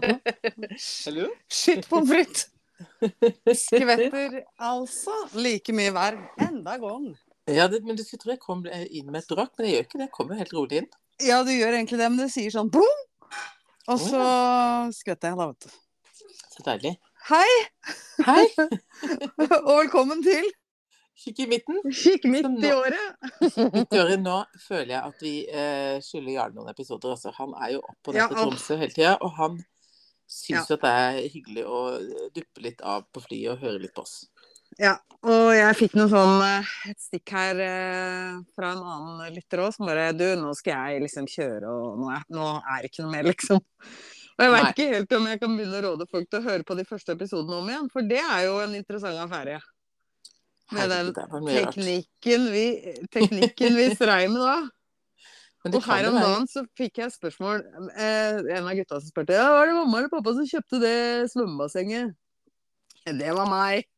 Hallo? Shit pommes frites! Skvetter altså like mye hver enda gang. Ja, det, men du skulle tro jeg kom eh, inn med et brak, men jeg gjør ikke det. Jeg kommer helt rolig inn. Ja, du gjør egentlig det, men det sier sånn boom! Og så skvetter jeg, da, vet du. Så deilig. Hei, Hei! og velkommen til Kikk i midten. Kikk Som midt nå- i året. Midt i året nå føler jeg at vi eh, skylder Jarle noen episoder. Altså, han er jo opp og ned Ja, til og- Tromsø hele tida, og han Ja. syns jo at det er hyggelig å duppe litt av på flyet og høre litt på oss. Og jeg fikk noe sånn eh, et stikk her eh, fra en annen lytter òg, som bare Du, nå skal jeg liksom kjøre, og nå er, nå er det ikke noe mer, liksom. Og jeg Nei. veit ikke helt om jeg kan begynne å råde folk til å høre på de første episodene om igjen, for det er jo en interessant affære. Med den Herregud, det var mye rart. Teknikken vi, teknikken vi strei med da. Men det Og kan her jo om være- dagen så fikk jeg spørsmål eh, En av gutta som spurte Ja, var det mamma eller pappa som kjøpte det svømmebassenget? Ja, Det var meg.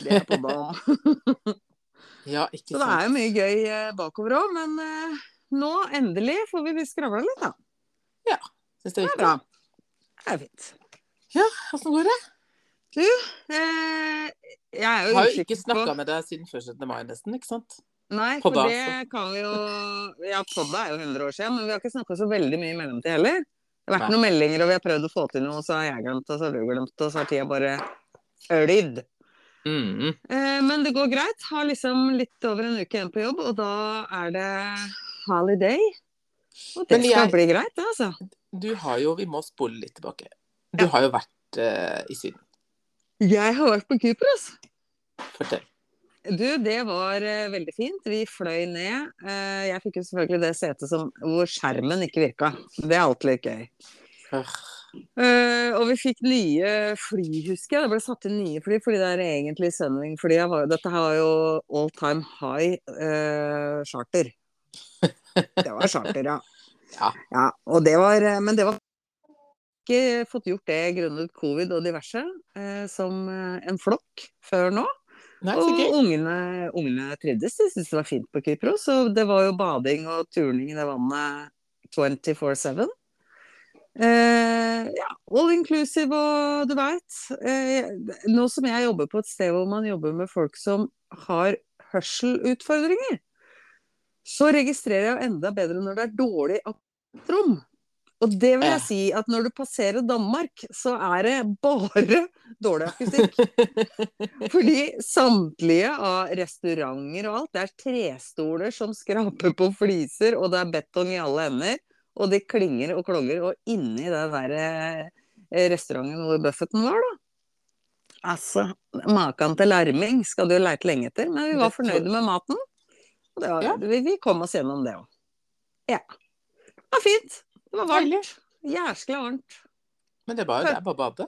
Det er på banen. Ja, ikke Så det er sant. jo mye gøy eh, bakover òg, men eh, nå endelig får vi skravla litt, da. Syns det er Det er viktig. bra. Det er fint. Åssen går det? Eh, jeg er Jeg jo har jo usikker ikke på- snakka med deg siden før 17. mai, nesten. ikke sant? Nei, for Podda, det kan vi jo Ja, podda er jo 100 år siden, men vi har ikke snakka så veldig mye i mellomtid heller. Det har vært Nei. noen meldinger, og vi har prøvd å få til noe, og så har jeg glemt det, og så har du glemt det, og så har tida bare ølidd. Mm. Eh, men det går greit. Har liksom litt over en uke igjen på jobb, og da er det holiday. Og det Men jeg- skal bli greit, det, altså. Du har jo Vi må spole litt tilbake. Du har jo vært eh, i Syden. Jeg har vært på Kypros. Fortell. Du, det var eh, veldig fint. Vi fløy ned. Eh, jeg fikk jo selvfølgelig det setet som, hvor skjermen ikke virka. Det er alltid litt gøy. Hør. Eh, og vi fikk nye fly, husker jeg. Det ble satt inn nye fly, fordi det er egentlig Sunwing-flya. var- Dette her var jo all time high eh, charter. Det var charter, ja. Ja. og det var, eh, men det var ikke fått gjort det grunnet covid og diverse, eh, som eh, en flokk før nå. Nei, så Og gøy. ungene, ungene trivdes. De syntes det var fint på Kypros. Og det var jo bading og turning i det vannet 24-7. Eh, ja, all inclusive og du veit. Eh, nå som jeg jobber på et sted hvor man jobber med folk som har hørselutfordringer, så registrerer jeg jo enda bedre når det er dårlig rom. Og det vil Ja. jeg si at når du passerer Danmark, så er det bare dårlig akustikk. Fordi samtlige av restauranter og alt, det er trestoler som skraper på fliser, og det er betong i alle ender, og det klinger og klonger, og inni den der eh, restauranten hvor Buffetten var, da. Altså, maken til larming skal du leite lenge etter, men vi var Det tror- fornøyde med maten. Og det var, Ja. vi, vi kom oss gjennom det òg. Ja. Det var fint. Det var varmt. Deilig. Jæskla varmt Men det var jo det er bare å bade.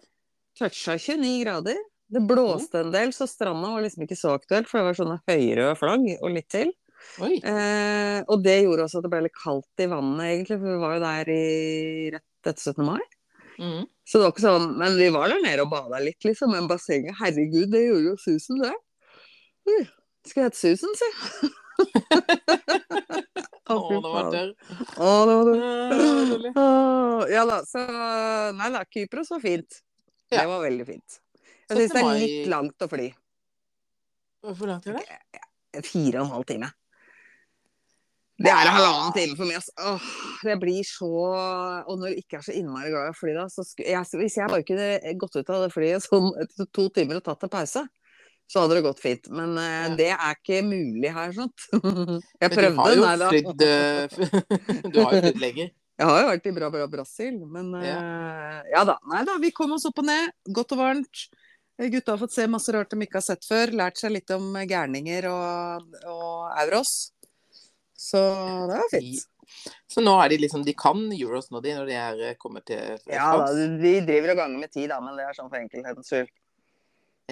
toucha 29 grader. Det blåste en del, så stranda var liksom ikke så aktuelt, for det var sånne høyrøde flagg og litt til. Oi. Eh, og det gjorde også at det ble litt kaldt i vannet, egentlig, for vi var jo der i rett etter 17. mai. Mm. Så det var ikke sånn Men vi var der nede og bada litt, liksom. Men bassenget, herregud, det gjorde jo susen, det. Ui, Skal jeg hete Susan, si? Å, nå var det tørr. Å, det var det. Å, rolig. Åh, Ja da, så Nei da, Kypros var fint. Ja. Det var veldig fint. 17. Jeg syns det er mai- litt langt å fly. Hvor langt er det? Fire og en halv time. Det er en halvannen time for mye, ass. Åh, jeg blir så Og når jeg ikke er så innmari glad i å fly, da, så skulle jeg Hvis jeg bare kunne gått ut av det flyet sånn etter to timer og tatt en pause, så hadde det gått fint. Men eh, Ja. det er ikke mulig her, sant. Jeg Men du prøvde, har jo nei da. flydd eh, Du har jo flydd lenger. Jeg har jo vært i bra, bra Brasil, men ja. ja da. Nei da, vi kom oss opp og ned. Godt og varmt. Eh, Gutta har fått se masse rart de ikke har sett før. Lært seg litt om eh, gærninger og, og euros. Så det var fint. Så nå er de liksom De kan euros nå, de, når de er eh, kommet til eh, Ja da, France. de driver og ganger med tid, da, men det er sånn for enkelhetens skyld.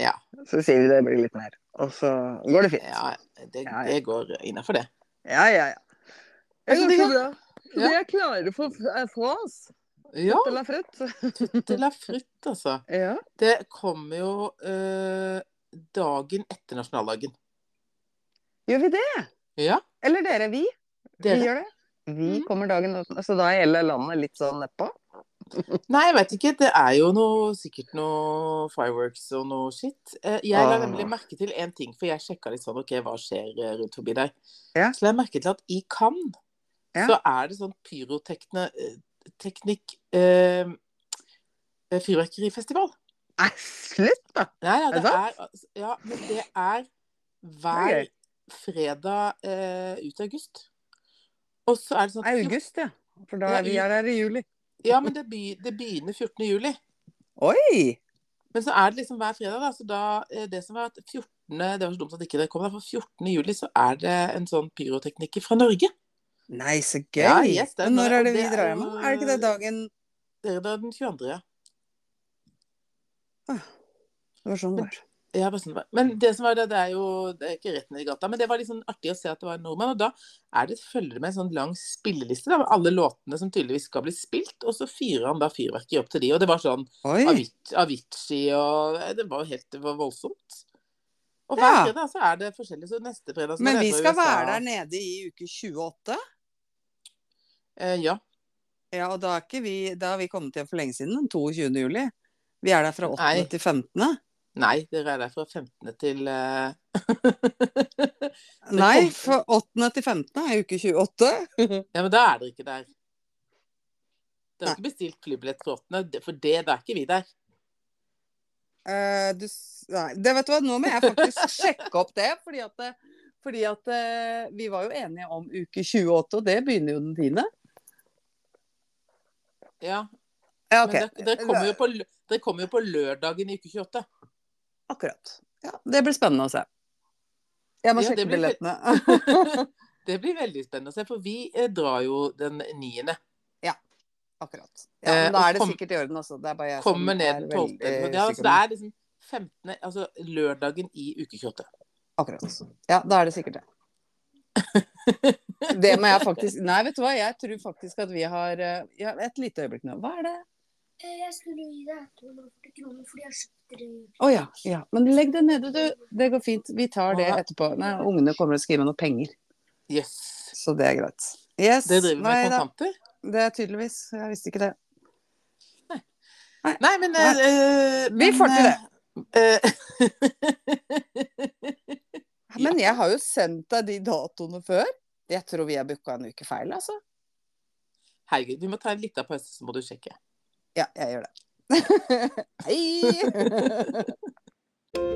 Ja. Så sier vi det blir litt mer, og så går det fint. Ja, Ja, det, Ja, ja. det går innafor, det. ja, ja. Det går så bra. Ja. er klare for eh, France. Ja, la frutt. tutte la frutt, altså. Ja. Det kommer jo eh, dagen etter nasjonaldagen. Gjør vi det? Ja, Eller dere, Mm. vi? Vi dere. gjør det. Vi Mhm. kommer dagen Så da er hele landet litt sånn nedpå. Nei, jeg vet ikke. Det er jo noe, sikkert noe fireworks og noe shit. Eh, Jeg la Åh. nemlig merke til en ting, for jeg sjekka litt sånn OK, hva skjer eh, rundt forbi der? Ja. Så la jeg merke til at i Cannes Ja. så er det sånn pyroteknikk eh, eh, Fyrverkerifestival. Nei, slutt, da! Nei, ja, Er det det er, altså, ja, men det er hver Det er fredag eh, ut august. Og så er det sånn Det er august, ja. For da er vi Ja, er her i juli. Ja, men det, begy- det begynner 14. juli. Oi! Men så er det liksom hver fredag, da. Så da eh, det som var at 14. Det var så dumt at ikke det kom, da, for 14. juli så er det en sånn pyrotekniker fra Norge. Nei, så gøy! Ja, yes, det er Men når det. er det vi Det er drar jo- hjem? da? Er det ikke det dagen Dere da den 22. Det var sånn det var. Ja, bare sånn det var. Men det som var det, det er jo det er ikke rett ned i gata, men det var litt sånn artig å se at det var en nordmann. Og da er det, følger det med en sånn lang spilleliste da, med alle låtene som tydeligvis skal bli spilt, og så fyrer han da fyrverkeri opp til de. Og det var sånn Oi! Avicii, Avicii og eh, Det var jo helt det var voldsomt. Og hver Ja. fredag så er det forskjellig. Så neste fredag så Men vi skal være der nede i uke 28. Eh, ja. Ja, og da, er ikke vi, da har vi kommet hjem for lenge siden, den 22. juli. Vi er der fra 8. Nei. til 15. Nei, dere er der fra 15. til eh, Nei, kom- for 8. til 15. er uke 28. Ja, men da er dere ikke der. Dere Nei. har ikke bestilt flybillett for 8., det- for det, da er ikke vi der. Eh, du, s- nei, det vet du hva, nå må jeg faktisk sjekke opp det, fordi at, det- fordi at eh, vi var jo enige om uke 28, og det begynner jo den 10. Ja, Ja, men dere, dere, kommer jo på, lø- dere kommer jo på lørdagen i uke 28. Akkurat. Ja, det blir spennende å se. Jeg må Ja, sjekke det blir- billettene. Det blir veldig spennende å se, for vi eh, drar jo den 9. Akkurat. Ja, men Eh, da og er det kom- sikkert i orden også. Det er bare jeg Kommer som ned er den 12. veldig Ja, altså, usikker. det er liksom 15. Altså lørdagen i uke 28. Akkurat. Ja, da er det sikkert det. Det må jeg faktisk Nei, vet du hva, jeg tror faktisk at vi har eh, ja, Et lite øyeblikk nå. Hva er det? Eh, Jeg skulle gi deg 140 kroner fordi jeg kjøpte det. Å ja, ja. Men legg det nede, du. Det går fint. Vi tar det Ja. etterpå. Nei, ungene kommer og skriver noe penger, Yes. så det er greit. Yes. Det driver vi Nei med da, kontanter? det er tydeligvis. Jeg visste ikke det. Nei, men eh, eh, Vi men, får til det. eh, eh, Men jeg har jo sendt deg de datoene før. Jeg tror vi har booka en uke feil, altså. Herregud, vi må ta en liten pause, så må du sjekke. Ja, jeg gjør det. Hei!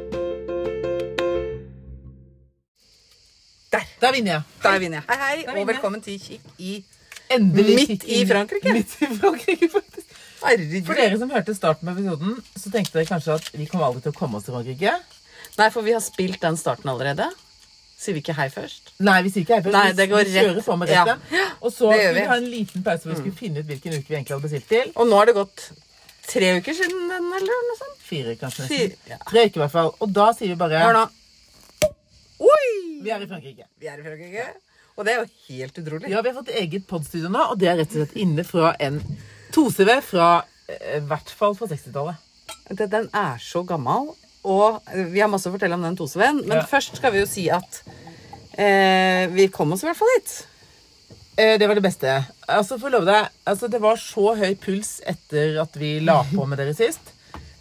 Da vinner jeg. Der vinner jeg. Hei, hei, Der vinner jeg. velkommen til Kikk i Endelig. Midt i Frankrike. Midt i Frankrike, faktisk. Herregud. For dere som hørte starten av episoden, så tenkte dere kanskje at vi kommer aldri til å komme oss til Frankrike. Nei, for vi har spilt den starten allerede. Sier vi ikke hei først? Nei, vi sier ikke hei, for Nei, vi- det går vi kjører rett. på med dette. Og så det skulle vi gjør vi. Mm. ha en liten pause hvor vi skulle finne ut hvilken uke vi egentlig hadde bestilt til. Og nå har det gått tre uker siden den, eller noe sånt? Fire, kanskje Fire, nesten. ja. Tre uker i hvert fall. Og da sier vi Hør bare nå. Oi! Vi er i Frankrike. Vi er i Frankrike. Og det er jo helt utrolig. Ja, vi har fått eget podstudio nå, og det er rett og slett inne fra en 2CV fra eh, hvert fall fra 60-tallet. Den den er så gammel, og vi har masse å fortelle om den Toseven. Men Ja. først skal vi jo si at eh, vi kom oss i hvert fall hit. Eh, det var det beste. Altså, for å love deg, altså, det var så høy puls etter at vi la på med dere sist.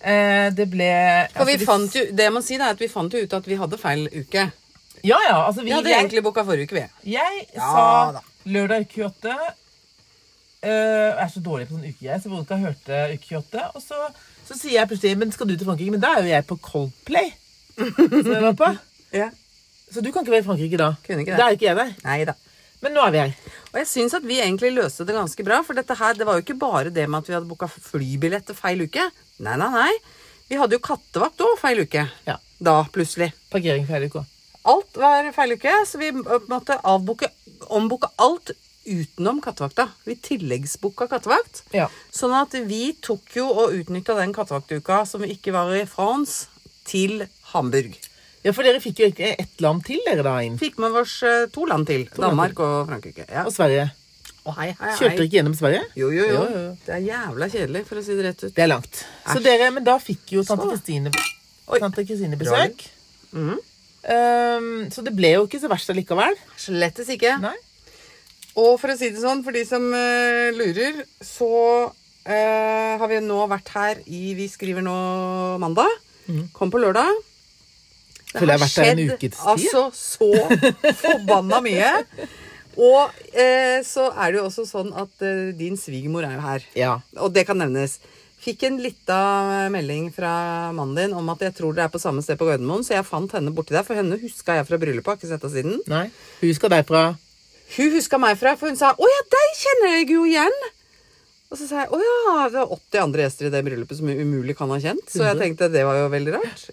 Eh, det ble For vi altså, fant jo, det jeg må si da, er at vi fant jo ut at vi hadde feil uke. Ja, ja. Altså, vi, Vi hadde jeg egentlig boka forrige uke, vi. jeg Ja da. sa lørdag uke 28. Eh, jeg er så dårlig på sånn uke, jeg, så Volka hørte uke 28. Og så, så sier jeg plutselig Men skal du til Frankrike? Men da er jo jeg på Coldplay. Som jeg var på. Ja. Så du kan ikke være i Frankrike da. Kunne ikke det. Da er ikke jeg der. Nei da. Men nå er vi her. Og jeg syns at vi egentlig løste det ganske bra. For dette her, det var jo ikke bare det med at vi hadde booka flybillett til feil uke. Nei, nei, nei. Vi hadde jo kattevakt òg feil uke. Ja. Da, plutselig. Parkering feil uke. Alt var feil uke, så vi ø, måtte avbooke, ombooke alt utenom kattevakta. Vi tilleggsbooka kattevakt. Ja. Sånn at vi tok jo og utnytta den kattevaktuka som vi ikke var i France, til Hamburg. ja, for dere fikk jo ikke ett land til dere da inn. Fikk med oss ø, to land til. land Danmark og Frankrike. Ja. Og Sverige. Og hei, hei, Kjørte dere hei. ikke gjennom Sverige? Jo, jo, jo. Jo, jo, jo. Det er jævla kjedelig, for å si det rett ut. Det er langt. Så Æsj. dere, men da fikk jo tante Så. Kristine Oi. tante Kristine besøk. Mm. Ehm, så det ble jo ikke så verst allikevel. Slettes ikke. Nei. Og for å si det sånn, for de som eh, lurer, så eh, har vi nå vært her i Vi skriver nå mandag. Mhm. Kom på lørdag. Det Føler jeg har vært her en ukes tid. altså så forbanna mye. Og eh, så er det jo også sånn at eh, din svigermor er jo her. Ja. Og det kan nevnes. Fikk en lita melding fra mannen din om at jeg tror dere er på samme sted på Gardermoen, så jeg fant henne borti der, for henne huska jeg fra bryllupet, har ikke sett henne siden. Nei. Hun skal derfra Hun huska meg fra, for hun sa 'Å ja, deg kjenner jeg jo igjen'. Og så sa jeg 'Å ja, det var 80 andre gjester i det bryllupet som hun umulig kan ha kjent'. Så jeg tenkte det var jo veldig rart.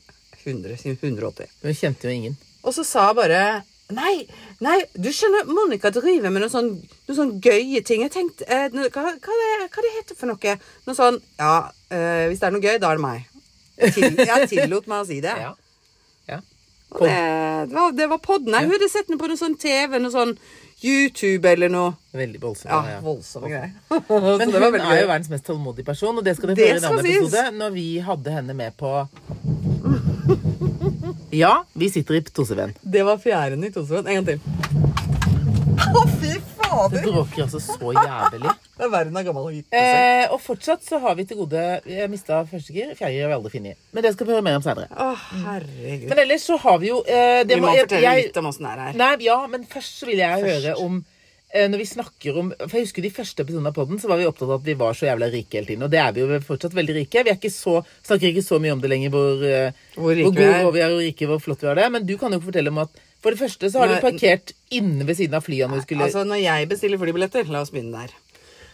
100, sier 180. Hun kjente jo ingen. Og så sa jeg bare Nei, nei, du skjønner, Monica driver med noen sånn, noen sånn gøye ting. Jeg tenkte, eh, nå- hva, hva, det, hva det heter for noe? Noe sånn, ja, eh, hvis det er noe gøy, da er det meg. Til, jeg tillot meg å si det. Ja. ja. Og det, det, var, det var podden. Nei, hun hadde sett den på noe sånn TV, noe sånn YouTube eller noe. Veldig voldsom. Ja, ja. voldsomme greier. Men Så det hun var er veldig jo gøy. verdens mest tålmodige person, og det skal dere høre i Det en skal annen sies. episode. Når vi hadde henne med på Ja, vi sitter i Tosevenn. Det var fjæren i Tosvold. En gang til. Å, fy Det fader! bråker altså så jævlig. Det er verden av gammel og hvit. altså. Eh, og fortsatt så har vi til gode Jeg mista første gir, fjerde gir har vi aldri funnet. Men det skal vi høre mer om seinere. Å, herregud. Men ellers så har vi jo eh, det Vi må jeg- fortelle jeg- litt om åssen det er her. Nei, ja, men først så vil jeg høre om eh, Når vi snakker om For jeg husker de første episodene av podden Så var vi opptatt av at vi var så jævla rike hele tiden Og det er vi jo fortsatt veldig rike Vi er ikke så, snakker ikke så mye om det lenger Hvor, eh, Hvor rike vi gode er. hvor vi er, hvor rike, hvor flott vi har det Men du kan jo ikke fortelle om at For det første så har Nei, du parkert inne ved siden av flyene når vi skulle Altså, når jeg bestiller flybilletter, la oss begynne der.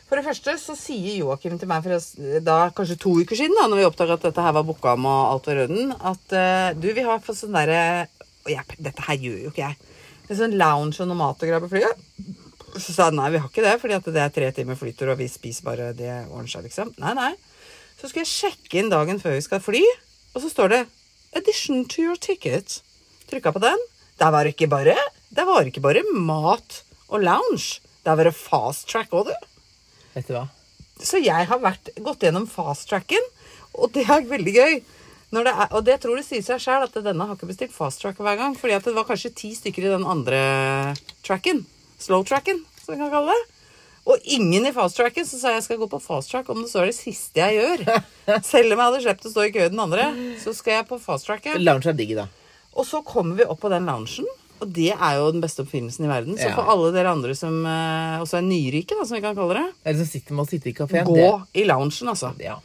For det første så sier Joakim til meg for oss, da kanskje to uker siden, da når vi oppdaga at dette her var booka om og alt var i orden, at eh, du, vi har fått sånn derre Og jeg, dette her gjør jo ikke jeg. Det er sånn lounge og noe mat og greier på flyet. Så sa jeg nei, vi har ikke det, fordi at det er tre timer flytur, og vi spiser bare det ordner seg, liksom. Nei, nei. Så skal jeg sjekke inn dagen før vi skal fly, og så står det 'Addition to your ticket'. Trykka på den. Der var det ikke bare Der var det ikke bare mat og lounge. Der var det fast track òg, du. Vet du hva? Så jeg har vært, gått gjennom fast tracken, og det er veldig gøy. Når det er, og det tror det sier seg sjøl, at denne har ikke bestilt fast track hver gang. Fordi at det var kanskje ti stykker i den andre tracken. Slow tracken, som vi kan kalle det. Og ingen i fast tracken, så sa jeg jeg skal gå på fast track om det så er det siste jeg gjør. Selv om jeg hadde sluppet å stå i kø den andre, så skal jeg på fast tracken. Lounge er digg da Og så kommer vi opp på den loungen, og det er jo den beste oppfinnelsen i verden. Så Ja. for alle dere andre som eh, også er nyrike, da, som vi kan kalle det, Eller som sitter med å sitte i kaféen gå det, i loungen, altså. ja.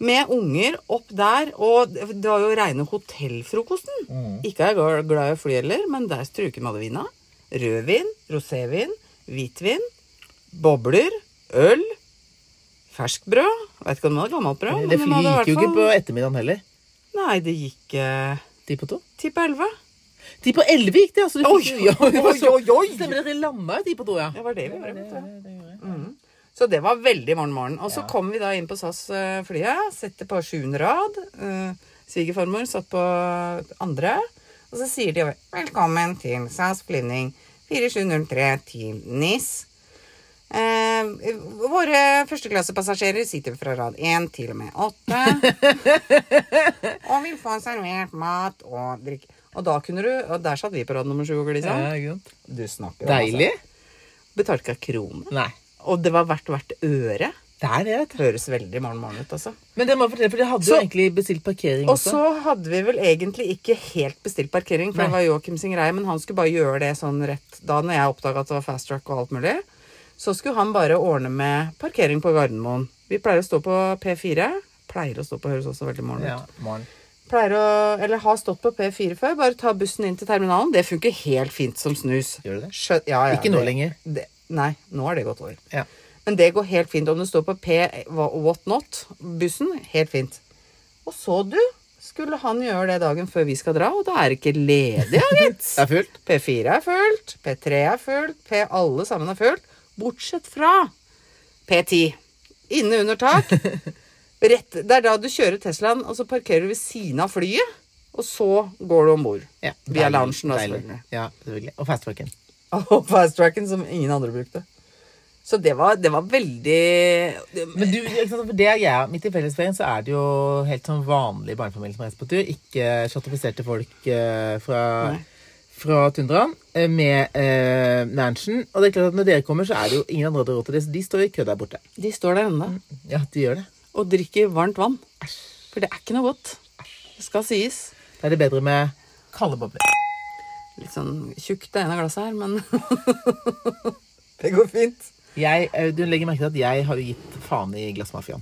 Med unger opp der, og det det var jo reine hotellfrokosten. Mm. Ikke er jeg gla- glad i å fly heller, men der struker vi hadde vina. Rødvin, rosévin, hvitvin, bobler, øl, ferskbrød. Vet ikke om det var gammelt Det brød. men de flyet hadde gikk i jo hvert ikke på fall- ettermiddagen heller sånn. Nei, det gikk eh, Ti på to ti på elleve. Ti på elve gikk det altså, det Oi, fikk- Ja, vi var så- oi, oi. Stemmer det, dere landa jo ti på to, ja Det var det vi gjorde. vet du. det Så det var veldig morgen morgen. Og så kom vi da inn på SAS-flyet, setter på sjuende rad. eh, Svigerfarmor satt på andre. Og så sier de over 'Velkommen til SAS flyvning 4703 til NIS'. Eh, våre førsteklassepassasjerer sitter fra rad 1 til og med 8 og vil få servert mat og drikke. Og da kunne du, og der satt vi på rad nummer 7 og glisa. Ja, ikke sant? Du snakker om altså. Deilig? Betalte ikke en krone. Nei. Og det var verdt hvert øre. Det er det, vet du. Høres veldig morgen morgen ut, altså. Men det må jeg fortelle, for dere hadde Så- jo egentlig bestilt parkering Og også. så hadde vi vel egentlig ikke helt bestilt parkering, for det var Joakim sin greie, men han skulle bare gjøre det sånn rett da når jeg oppdaga at det var fast track og alt mulig. Så skulle han bare ordne med parkering på Gardermoen. Vi pleier å stå på P4. Pleier å stå på høres også veldig morgen ut. Ja, morgen. Pleier å, eller har stått på P4 før. Bare ta bussen inn til terminalen. Det funker helt fint som snus. Gjør det det? Skjø- ja, ja, Ikke nå det- lenger. Det, nei, nå har det gått over. Ja. Men det går helt fint om du står på P What Not-bussen. Helt fint. Og så, du, skulle han gjøre det dagen før vi skal dra, og da er det ikke ledig, gitt. Det er fullt. P4 er fullt, P3 er fullt, P alle sammen er fullt, bortsett fra P10. Inne under tak. Rett, det er da du kjører Teslaen, og så parkerer du ved siden av flyet, og så går du om bord. Ja, Via deilig, loungen, da, deilig. selvfølgelig. Ja, selvfølgelig. Og fasttracken. Og fasttracken som ingen andre brukte. Så det var, det var veldig Men du, ikke sant, for det er jeg, midt i fellesferien så er det jo helt sånn vanlige barnefamilier som reiser på tur. Ikke chatifiserte folk eh, fra Nei. fra Tundraen eh, med eh, Nansen. Og det er klart at når dere kommer, så er det jo ingen andre råd til det, så de står i kø der borte. De står der ennå Ja, de gjør det. og drikker varmt vann. For det er ikke noe godt. Det skal sies. Da er det bedre med kalde bobler. Litt sånn tjukt det ene glasset her, men Det går fint. Jeg, eh, du legger merke til at jeg har jo gitt faen i glassmafiaen.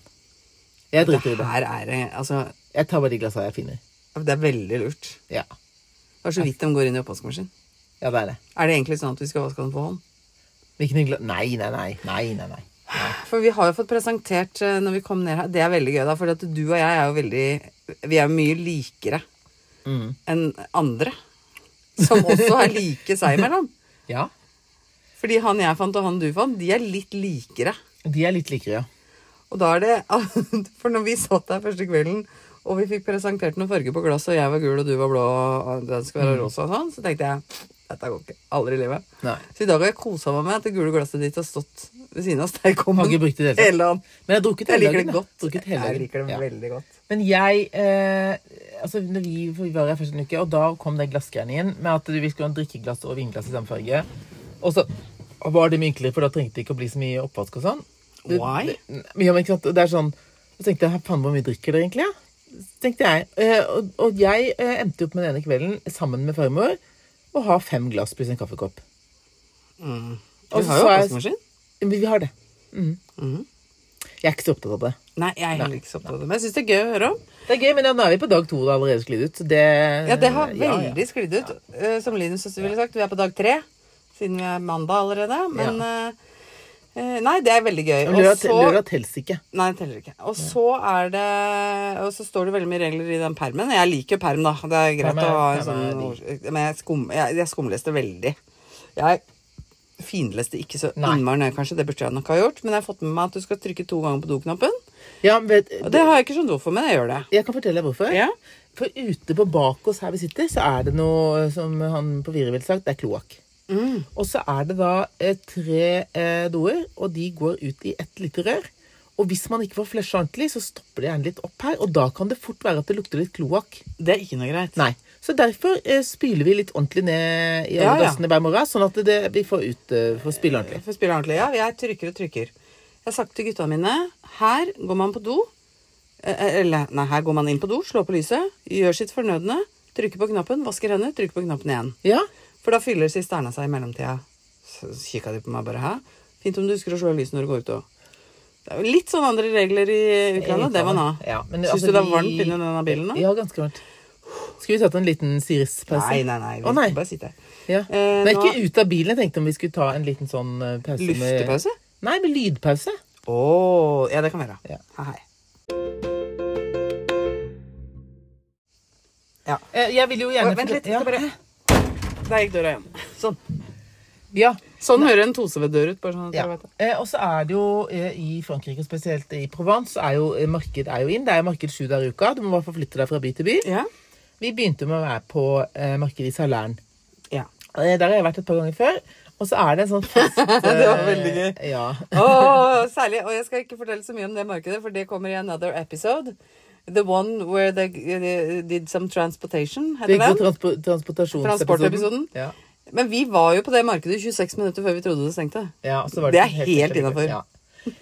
Jeg driter i det. Her er det Altså, Jeg tar bare de glassene jeg finner. det er veldig lurt. Ja, Det er så vidt de går inn i oppvaskmaskinen. ja det er det. Er det egentlig sånn at vi skal vaske den på hånd? Hvilken gla... Nei, nei, nei. Nei, nei, nei. For vi har jo fått presentert eh, når vi kom ned her Det er veldig gøy, da. For at du og jeg er jo veldig Vi er jo mye likere Mm. enn andre. Som også er like seg imellom. Ja, Fordi han jeg fant, og han du fant, de er litt likere. de er litt likere, ja. Og da er det For når vi satt der første kvelden, og vi fikk presentert noen farger på glasset, og jeg var gul, og du var blå, og den skal være rosa og sånn, så tenkte jeg dette går ikke. Aldri i livet. Mm. Nei. Så i dag har jeg kosa meg med at det gule glasset ditt har stått ved siden av stekeovnen. Har ikke brukt det i det hele tatt. hele dagen. Men jeg har drukket Jeg hele liker dagen. det da. godt. Drukket hele Jeg dagen. liker det Ja. veldig godt. Men jeg eh, Altså, når vi vi var her først en uke, og da kom den glassgreien inn med at vi skulle ha en drikkeglass og vinglass i samme farge. Og så var det mye enklere, for da trengte det ikke å bli så mye oppvask og sånn. Det- Why? det- Ja, men ikke sant, det er sånn Så tenkte jeg, «Hæ, faen hvor mye drikker dere egentlig, ja? Så tenkte jeg. Eh, og, og jeg eh, endte opp med den ene kvelden, sammen med farmor, å ha fem glass pluss en kaffekopp. Og så Vi Mm. har sa jo jeg- oppvaskmaskin. Men vi har det. Mm. Mm-hmm. Jeg er ikke så opptatt av det. Nei, jeg er heller ikke så opptatt av det. Men jeg syns det er gøy å høre om. Det er gøy, men ja, nå er vi på dag to og det har allerede sklidd ut. så Det, Eh, Ja, det har ja, ja. veldig sklidd ut. eh, Som Linus søster ville sagt, vi er på dag tre. Siden vi er mandag allerede. Men eh, eh, Nei, det er veldig gøy. Og Lørdag, så- lørdag tels ikke. Nei, det teller ikke. Og så er det Og så står det veldig mye regler i den permen. Jeg liker jo perm, da. Det er greit Perm er- å ha en perm er sånn ord- Men jeg, skum, jeg, jeg skumleste veldig. Jeg finleste ikke så Nei. innmari nøye, kanskje. Det burde jeg nok ha gjort. Men jeg har fått med meg at du skal trykke to ganger på do-knappen. Ja, vet, Og det har jeg ikke skjønt hvorfor, men jeg gjør det. jeg kan fortelle deg hvorfor. Ja. For ute på bak oss her vi sitter, så er det noe som han på Vire ville sagt, det er kloakk. Mm. Og så er det da eh, tre eh, doer, og de går ut i ett lite rør. Og hvis man ikke får flusha ordentlig, så stopper det gjerne litt opp her. Og da kan det fort være at det lukter litt kloakk. Det er ikke noe greit. Nei. Så derfor eh, spyler vi litt ordentlig ned i alle Ja, ja. dassene hver morgen, sånn at det, vi får, ut, eh, får spille ordentlig. For å spille ordentlig, ja. Jeg trykker og trykker. Jeg har sagt til gutta mine Her går man på do. eh, Eller nei, her går man inn på do, slår på lyset, gjør sitt fornødne, trykker på knappen, vasker hender, trykker på knappen igjen. Ja, For da fyller sisterna seg i mellomtida. Så kikka de på meg bare hæ? Fint om du husker å slå av lyset når du går ut òg. Det er jo litt sånn andre regler i utlandet. Det var nå. Ja, men Syns altså, du det er vi- varmt inni denne bilen nå? Ja, ganske varmt. Skulle vi tatt en liten Siris-pause? Nei, nei, nei. Vi Å, nei. skal bare sitte her. Ja. Eh, Men nå- ikke ut av bilen. Jeg tenkte om vi skulle ta en liten sånn eh, pause. med- Luftepause? Nei, med lydpause. Å Ja, det kan være. Ja. Hei, hei. Eh, Jeg vil jo gjerne Å, vent litt, Ja. skal bare Der gikk døra igjen. Sånn. Ja. Sånn hører en toseved dør ut. Bare sånn at Ja. dere vet det. Eh, og så er det jo eh, i Frankrike, spesielt i Provence, så er jo eh, marked er jo inn. Det er jo marked sju dager i uka. Du må i hvert fall flytte deg fra by til by. Ja. Vi begynte med å være på eh, markedet i Salern. ja. Eh, Der har jeg vært et par ganger før. Og så er det en sånn fast Det var veldig gøy. eh, Ja. Åh, særlig. Og jeg skal ikke fortelle så mye om det markedet, for det kommer i another episode. The one where they, they did some transportation, Det heter gikk på den. transpo transportasjonsepisoden. Transportepisoden. Ja. Men vi var jo på det markedet i 26 minutter før vi trodde det stengte. Ja, og så var Det det, er helt innenfor. Ja.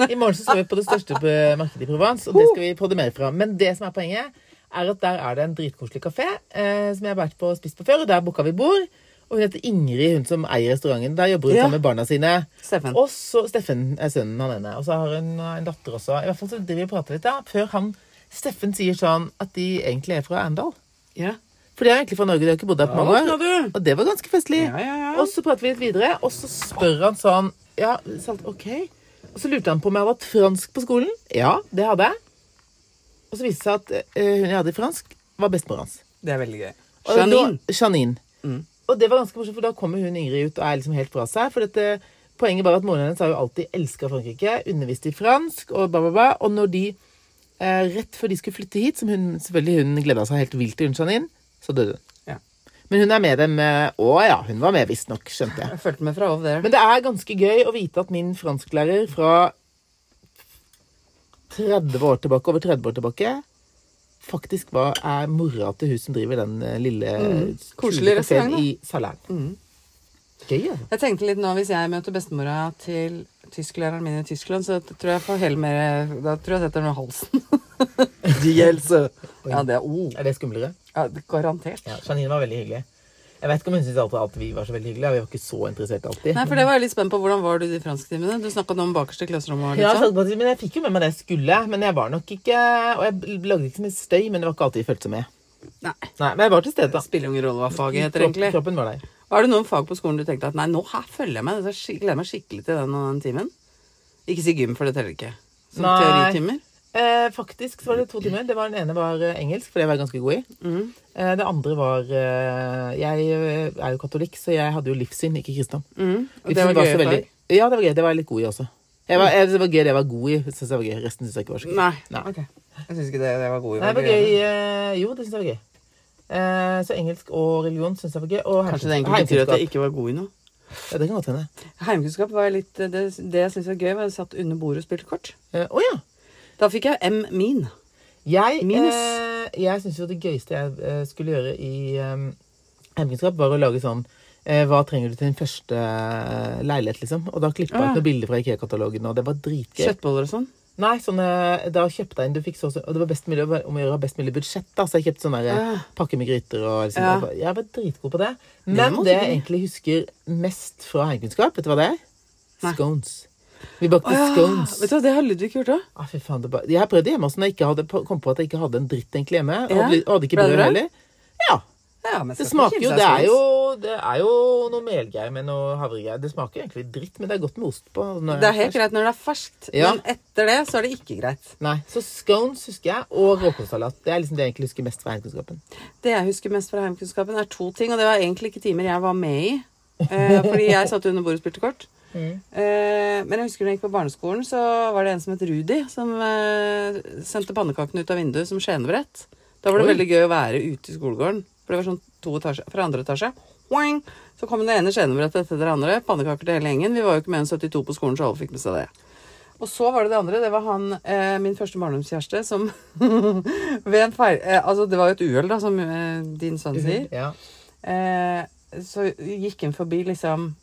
I morgen så skal vi på det største på markedet i Provence, og det skal vi podde mer fra. Men det som er poenget, er at der er det en dritkoselig kafé eh, som jeg har vært på og spist på før, og der booka vi bord. Og hun heter Ingrid, hun som eier restauranten. Der jobber hun Ja. sammen med barna sine. Steffen. Og så Steffen er sønnen han ene. Og så har hun eh, en datter også. I hvert fall så driver vi og prater litt, da. Før han Steffen sier sånn at de egentlig er fra Arendal. Ja. For de er egentlig fra Norge, de har ikke bodd her på mange skal år. du. Og det var ganske festlig. Ja, ja, ja. Og så prater vi litt videre, og så spør han sånn Ja, salt, ok. Og så lurte han på om jeg hadde hatt fransk på skolen. Ja, det hadde jeg. Og så viste det seg at eh, hun jeg hadde i fransk, var bestemor hans. Det er veldig gøy. Og Janine. Mm. Da, Janine. Og det var ganske morsomt, for da kommer hun Ingrid ut og er liksom helt fra seg. For dette, poenget var at moren hennes har jo alltid elska Frankrike, undervist i fransk og bla, bla, bla. Og når de, eh, rett før de skulle flytte hit, som hun selvfølgelig hun gleda seg helt vilt til, hun Janine, så døde hun. Ja. Men hun er med dem eh, Å ja, hun var med, visstnok, skjønte jeg. Jeg følte meg fra over der. Men det er ganske gøy å vite at min fransklærer fra 30 år tilbake, over 30 år tilbake, faktisk hva er mora til hun som driver den eh, lille Mm. eh, Koselig kafeen restaurant, da. i Salern. Mm. Gøy, ja. Jeg tenkte litt nå, Hvis jeg møter bestemora til tysklæreren min i Tyskland, så tror jeg jeg får hele mer Da tror jeg jeg setter den i halsen. De gjelder. Ja, det er oh. Er det skumlere? ja, det- Garantert. Ja, Janine var veldig hyggelig. Jeg vet ikke om hun syntes alltid at vi var så veldig hyggelige. Vi var ikke så interessert alltid. Nei, for det var jeg litt spent på. Hvordan var du i de fransktimene? Du snakka om bakerste klasserom og Ja, litt jeg sånn. satt på, men jeg fikk jo med meg det jeg skulle. Men jeg var nok ikke Og jeg lagde ikke så mye støy, men det var ikke alltid jeg følte så mye. sånn. Nei. Nei, men jeg var til stede, da. Spiller ingen rolle hva faget heter, egentlig. Kroppen var der. Var det noen fag på skolen du tenkte at nei, nå her følger jeg med, dette skik- gleder meg skikkelig til den og den timen? Ikke si gym, for det teller ikke. Som Nei. teoritimer. Eh, faktisk så var det to timer. Det var, den ene var eh, engelsk, for det var jeg ganske god i. Mm. Eh, det andre var eh, Jeg eh, er jo katolikk, så jeg hadde jo livssyn, ikke kristendom. Mm. Og det Livssyn var gøye så fag. Ja, det var gøy. Det var jeg litt god i også. Jeg var, jeg, det var gøy det jeg var god i. Synes jeg var gøy. Resten syns jeg ikke var så gøy. Mm. Nei. Nei. Ok. Jeg syns ikke det, det var god Nei, det var gøy. eh, Jo, det syns jeg var gøy. Eh, Så engelsk og religion syns jeg var gøy. Og Kanskje det egentlig betyr at jeg ikke var god i noe. Ja, det kan godt hende. Heimkunnskap var litt eh, Det, det jeg syntes var gøy, var at jeg satt under bordet og spilte kort. Eh, Å ja. Da fikk jeg M min. Jeg, Minus. eh, jeg syns jo det gøyeste jeg eh, skulle gjøre i eh, hemmelighetsskap, var å lage sånn eh, Hva trenger du til din første eh, leilighet, liksom? Og da klippa jeg Ah. ut noen bilder fra IKEA-katalogen, og det var dritgøy. Kjøttboller og sånn. Nei, sånn, eh, da kjøpte jeg inn Du fikk så, så Og det var best mulig å være- om å gjøre best mulig budsjett, da. Så jeg kjøpte sånn derre Ah. pakke med gryter og liksom Ja. og Jeg var dritgod på det. Men må det, du jeg bli. egentlig husker mest fra heimkunnskap, vet du hva det er? Nei. Scones. Vi bakte scones. Vet du hva, det har Ludvig gjort òg. Ah, fy faen, det bare... Jeg prøvde hjemme også når jeg ikke hadde, kom på at jeg ikke hadde en dritt egentlig hjemme. Jeg Ja. Hadde, hadde ikke Ble det brød bra? heller. Ja. Ja, men Det skal smaker ikke jo kimse av Det er scones. jo, det er jo noe melgreier med noe havregreier. Det smaker jo egentlig dritt, men det er godt med ost på. når Det er helt fersk. greit når det er ferskt, Ja. men etter det så er det ikke greit. Nei, Så scones husker jeg, og råkålsalat. Det er liksom det jeg egentlig husker mest fra heimkunnskapen. Det jeg husker mest fra heimkunnskapen, er to ting. Og det var egentlig ikke timer jeg var med i. Eh, fordi jeg satt under bordet og spilte kort. Eh, men jeg husker når jeg gikk på barneskolen, så var det en som het Rudi, som eh, sendte pannekakene ut av vinduet som skjenebrett. Da var det Oi. veldig gøy å være ute i skolegården. For det var sånn to etasje, fra andre etasje. Wang! Så kom det ene skjenebrettet etter det andre. Pannekaker til hele gjengen. Vi var jo ikke mer enn 72 på skolen, så alle fikk med seg det. Og så var det det andre. Det var han, eh, min første barndomskjæreste, som ved en feil eh, Altså, det var jo et uhell, da, som eh, din sønn sier. Ja. Eh, så gikk han forbi, liksom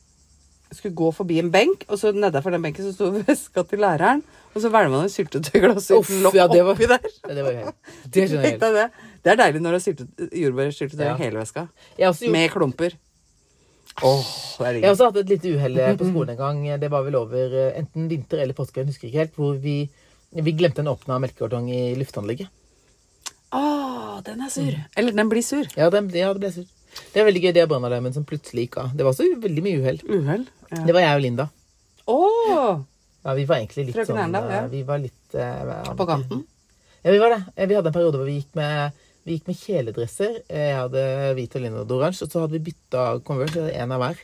Skulle gå forbi en benk, og så nedenfor den benken så sto veska til læreren, og så hvelva han et syltetøyglass Uff, uten lokk ja, det var- oppi der. Ja, Det var jo helt Det skjønner jeg Tenkte helt. jeg det. det er deilig når du har sylte- jordbærsyltetøy Ja. i hele veska. Jeg har også gjort Med klumper. Åh, det er Jeg har digg. også hatt et lite uhell eh, på skolen en gang. Det var vel over eh, enten vinter eller påske, jeg husker ikke helt. Hvor vi, vi glemte en åpna melkekartong i lufteanlegget. Åh, den er sur. Mm. Eller den blir sur. Ja, det, ja, det ble surt. Det er veldig gøy, det er brannalarmen som plutselig gikk av. Det var også veldig mye uhell. Uhell. Ja. Det var jeg og Linda. Åh, Ja, vi var egentlig litt Frøken sånn Erndal, ja. eh, Vi var litt eh, på kanten. Ja, vi var det. Eh, Vi hadde en periode hvor vi gikk med vi gikk med kjeledresser. Eh, Jeg hadde hvit og linje og oransje. Og så hadde vi bytta Converse. så En av hver.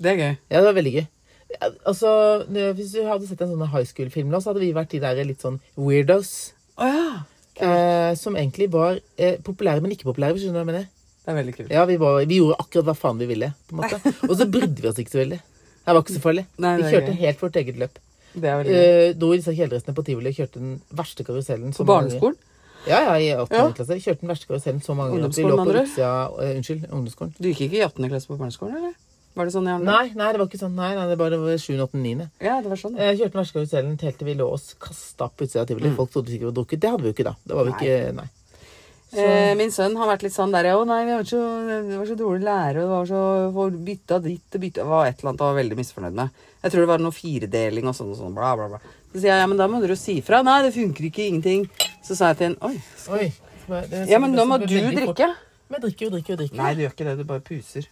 Det er gøy. Ja, det var veldig gøy. Ja, Altså, det- Hvis du hadde sett en sånn high school-film nå, så hadde vi vært de der litt sånn weirdos. Å ja. Eh, som egentlig var eh, populære, men ikke populære. hvis du skjønner hva jeg mener. Det er veldig kult. Ja, vi, var, vi gjorde akkurat hva faen vi ville. på en måte. Og så brydde vi oss ikke så veldig. Det var ikke så farlig. Nei, vi det er kjørte gøy. helt vårt eget løp. Det er veldig gøy. Eh, dro i disse kjeledressene på tivoli og kjørte den verste karusellen. så På mange- barneskolen? Ja, ja, i 8. Ja. klasse. Kjørte den verste karusellen så mange ganger at vi Ungdomsskolen, lå på mener du? utsida eh, Unnskyld, ungdomsskolen. Du gikk ikke i 18. klasse på barneskolen, eller? Var det sånn i andre? Nei, nei, det var ikke sånn. Nei, nei, det bare var 7., 8., 9. Ja, det var sånn. Jeg Eh, kjørte den verste karusellen helt til vi lå oss kasta opp utsida av Mm. tivoli. Folk trodde sikkert vi hadde drukket. Det hadde vi jo ikke da. Det var vi ikke, nei. Eh, min sønn har vært litt sånn der, å nei, vi har så, det var så dårlig lærer, og det var så for bytta ditt og bytta, det var et eller annet han var veldig misfornøyd med. Jeg tror det var noe firedeling og sånn og sånn, bla bla bla. Så sier jeg, ja, men da må dere jo si fra. Nei, det funker ikke, ingenting. Så sa jeg til henne, oi, Oi. det- det- ja, men det- nå må det- du det- veldig fort. drikke. Men jeg drikker jo, drikker jo, drikker. Nei, du gjør ikke det, du bare puser.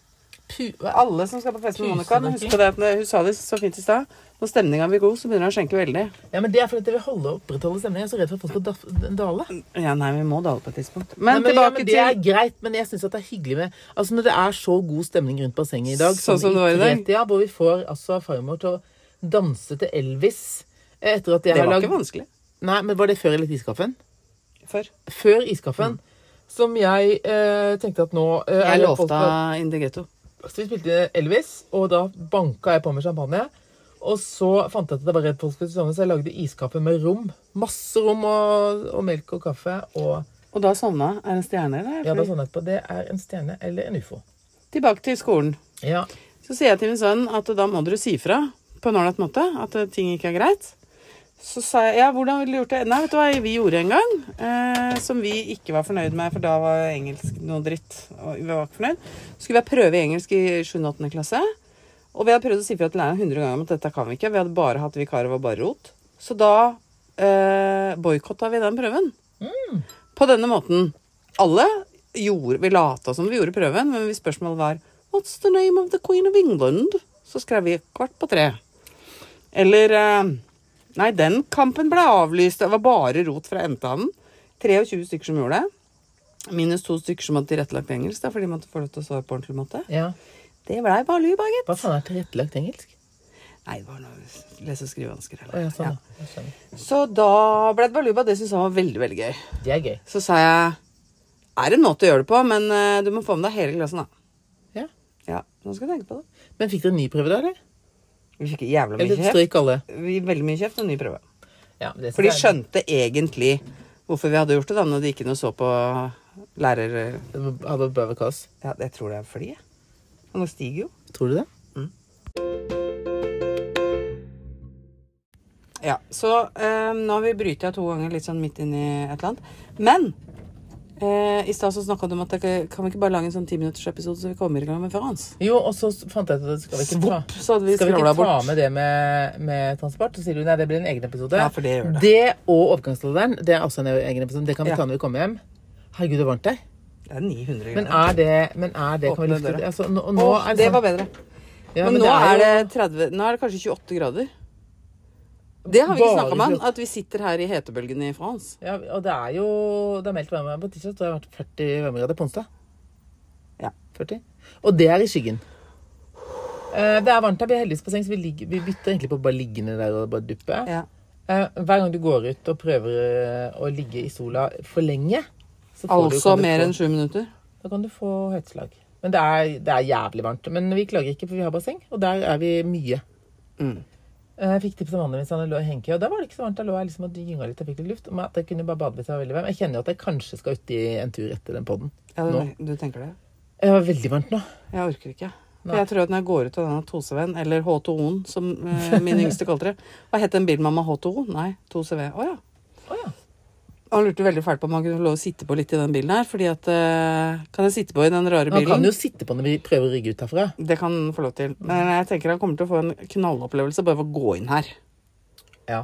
Pu Alle som skal på fest med Monica, Pusedrikking. husk på det, at når- hun sa det så fint i stad. Når stemninga blir god, så begynner han å skjenke veldig. Ja, men Det er fordi at jeg vil holde og opprettholde stemningen. Jeg er så redd for at folk skal daf- dale. Ja, nei, vi må dale på et tidspunkt. Nei, Men, men, ja, tilbake men til Det er greit, men jeg syns det er hyggelig med Altså Når det er så god stemning rundt bassenget i dag, Sånn som det var i dag. tretida, hvor vi får altså farmor til å danse til Elvis eh, etter at jeg Det har var lagd ikke vanskelig. Nei, men Var det før eller etter iskaffen? Før. Før iskaffen. Som jeg eh, tenkte at nå eh, er Mm. Jeg det folk lovte som- In the Ghetto. Så vi spilte Elvis, og da banka jeg på med champagne. Og så fant jeg at det var redd folk skulle sovne, så jeg lagde iskaffe med rom. Masse rom og, og melk og kaffe. Og Og da sovna er en stjerne, eller? Ja, da sånn etterpå. Det er en stjerne eller en ufo. Tilbake til skolen. Ja. Så sier jeg til min sønn at da må dere si fra på en ålreit måte at eh, ting ikke er greit. Så sa jeg ja, hvordan ville du gjort det? Nei, vet du hva vi gjorde en gang? Eh, som vi ikke var fornøyd med, for da var engelsk noe dritt. Og vi var ikke fornøyd. Så skulle vi ha prøve i engelsk i 7.-8. klasse. Og vi hadde prøvd å si fra til læreren 100 ganger om at dette kan vi ikke. Vi hadde bare hatt vikarer og var bare rot. Så da eh, boikotta vi den prøven. På denne måten. Alle gjorde Vi lata som vi gjorde prøven, men hvis spørsmålet var What's the name of the queen of England? Så skrev vi kvart på tre. Eller eh, Nei, den kampen ble avlyst. Det var bare rot fra endehavnen. 23 stykker som gjorde det. Minus to stykker som hadde tilrettelagt engelsk, da, for de måtte få lov til å svare på ordentlig måte. ja. Det blei bare lybaget. Hva faen er tilrettelagt engelsk? Nei, det var noe lese- og Å skrivevansker. ja, eller? sånn. Ja. ja. Jeg skjønner. Så da ble det baluba. Det syntes han var veldig, veldig gøy. Det er gøy. Så sa jeg er en måte å gjøre det på, men eh, du må få med deg hele klassen, da. Ja. Ja, nå skal jeg tenke på det. Men fikk dere ny prøve da, eller? Vi fikk jævla mye Eller kjeft. strøyk alle? Vi- Veldig mye kjeft og ny prøve. Ja, men det For synes jeg de er- skjønte egentlig hvorfor vi hadde gjort det, da, når de ikke noe så på lærer... Det Hadde bare vært kaos. Ja, jeg tror det er fordi, jeg. Og nå stiger jo. Tror du det? Ja, så eh, nå har vi bryter jeg to ganger litt sånn midt inn i et eller annet. Men eh, i stad så snakka du om at det, ikke- kan vi ikke bare lage en sånn timinuttersepisode så vi kommer i gang med Frans? Jo, og så fant jeg ut at skal vi ikke ta, Svopp, så hadde vi skal vi ikke skravla ta bort. med det med, med transport. Så sier du nei, det blir en egen episode. Ja, for det gjør det. og overgangsalderen, det er også en egen episode. Det kan vi Ja. ta når vi kommer hjem. Herregud, det er varmt der. Det er 900 Men grader. er det, men er det kan vi Åpne lufte ut? døra. Altså, nå, og nå Å, er det sånn- var bedre. Ja, men, nå jo- er, det 30 Nå er det kanskje 28 grader. Det har vi ikke Bare snakka om, han, fjorten. at vi sitter her i hetebølgen i France. Ja, og det er jo Det er meldt varme på tirsdag, så det har vært 40 varmegrader på onsdag. Ja. 40. Og det er i skyggen. Eh, Det er varmt her, vi er heldigvis på seng, så vi, ligger, vi bytter egentlig på å bare ligge ned der og bare duppe. Ja. Eh, Hver gang du går ut og prøver eh, å ligge i sola for lenge, så får du, Altså kan du mer få- enn sju minutter. Da kan du få høytslag. Men det er, det er jævlig varmt. Men vi klager ikke, for vi har basseng, og der er vi mye. Mm. Eh, Jeg fikk tips om vannet mitt, han lå i hengekøye, og da var det ikke så varmt. Da lå jeg liksom og gynga litt og fikk litt luft. Men at jeg kunne bare bade hvis jeg var veldig varm. Jeg kjenner jo at jeg kanskje skal uti en tur etter den podden. Ja, du, Nå. du tenker det? Det var veldig varmt nå. Jeg orker ikke. For Nei. jeg tror at når jeg går ut av denne Toseven, eller H2O-en, som eh, min yngste kalte det Hva het den bilen mamma H2O? Nei, 2CV. Å ja. Å ja. Han lurte veldig fælt på om han kunne få lov å sitte på litt i den bilen her, fordi at eh, Kan jeg sitte på i den rare Man bilen? kan jo sitte på når vi prøver å rygge ut herfra. Det kan han få lov til. Men jeg tenker han kommer til å få en knallopplevelse bare ved å gå inn her. Ja.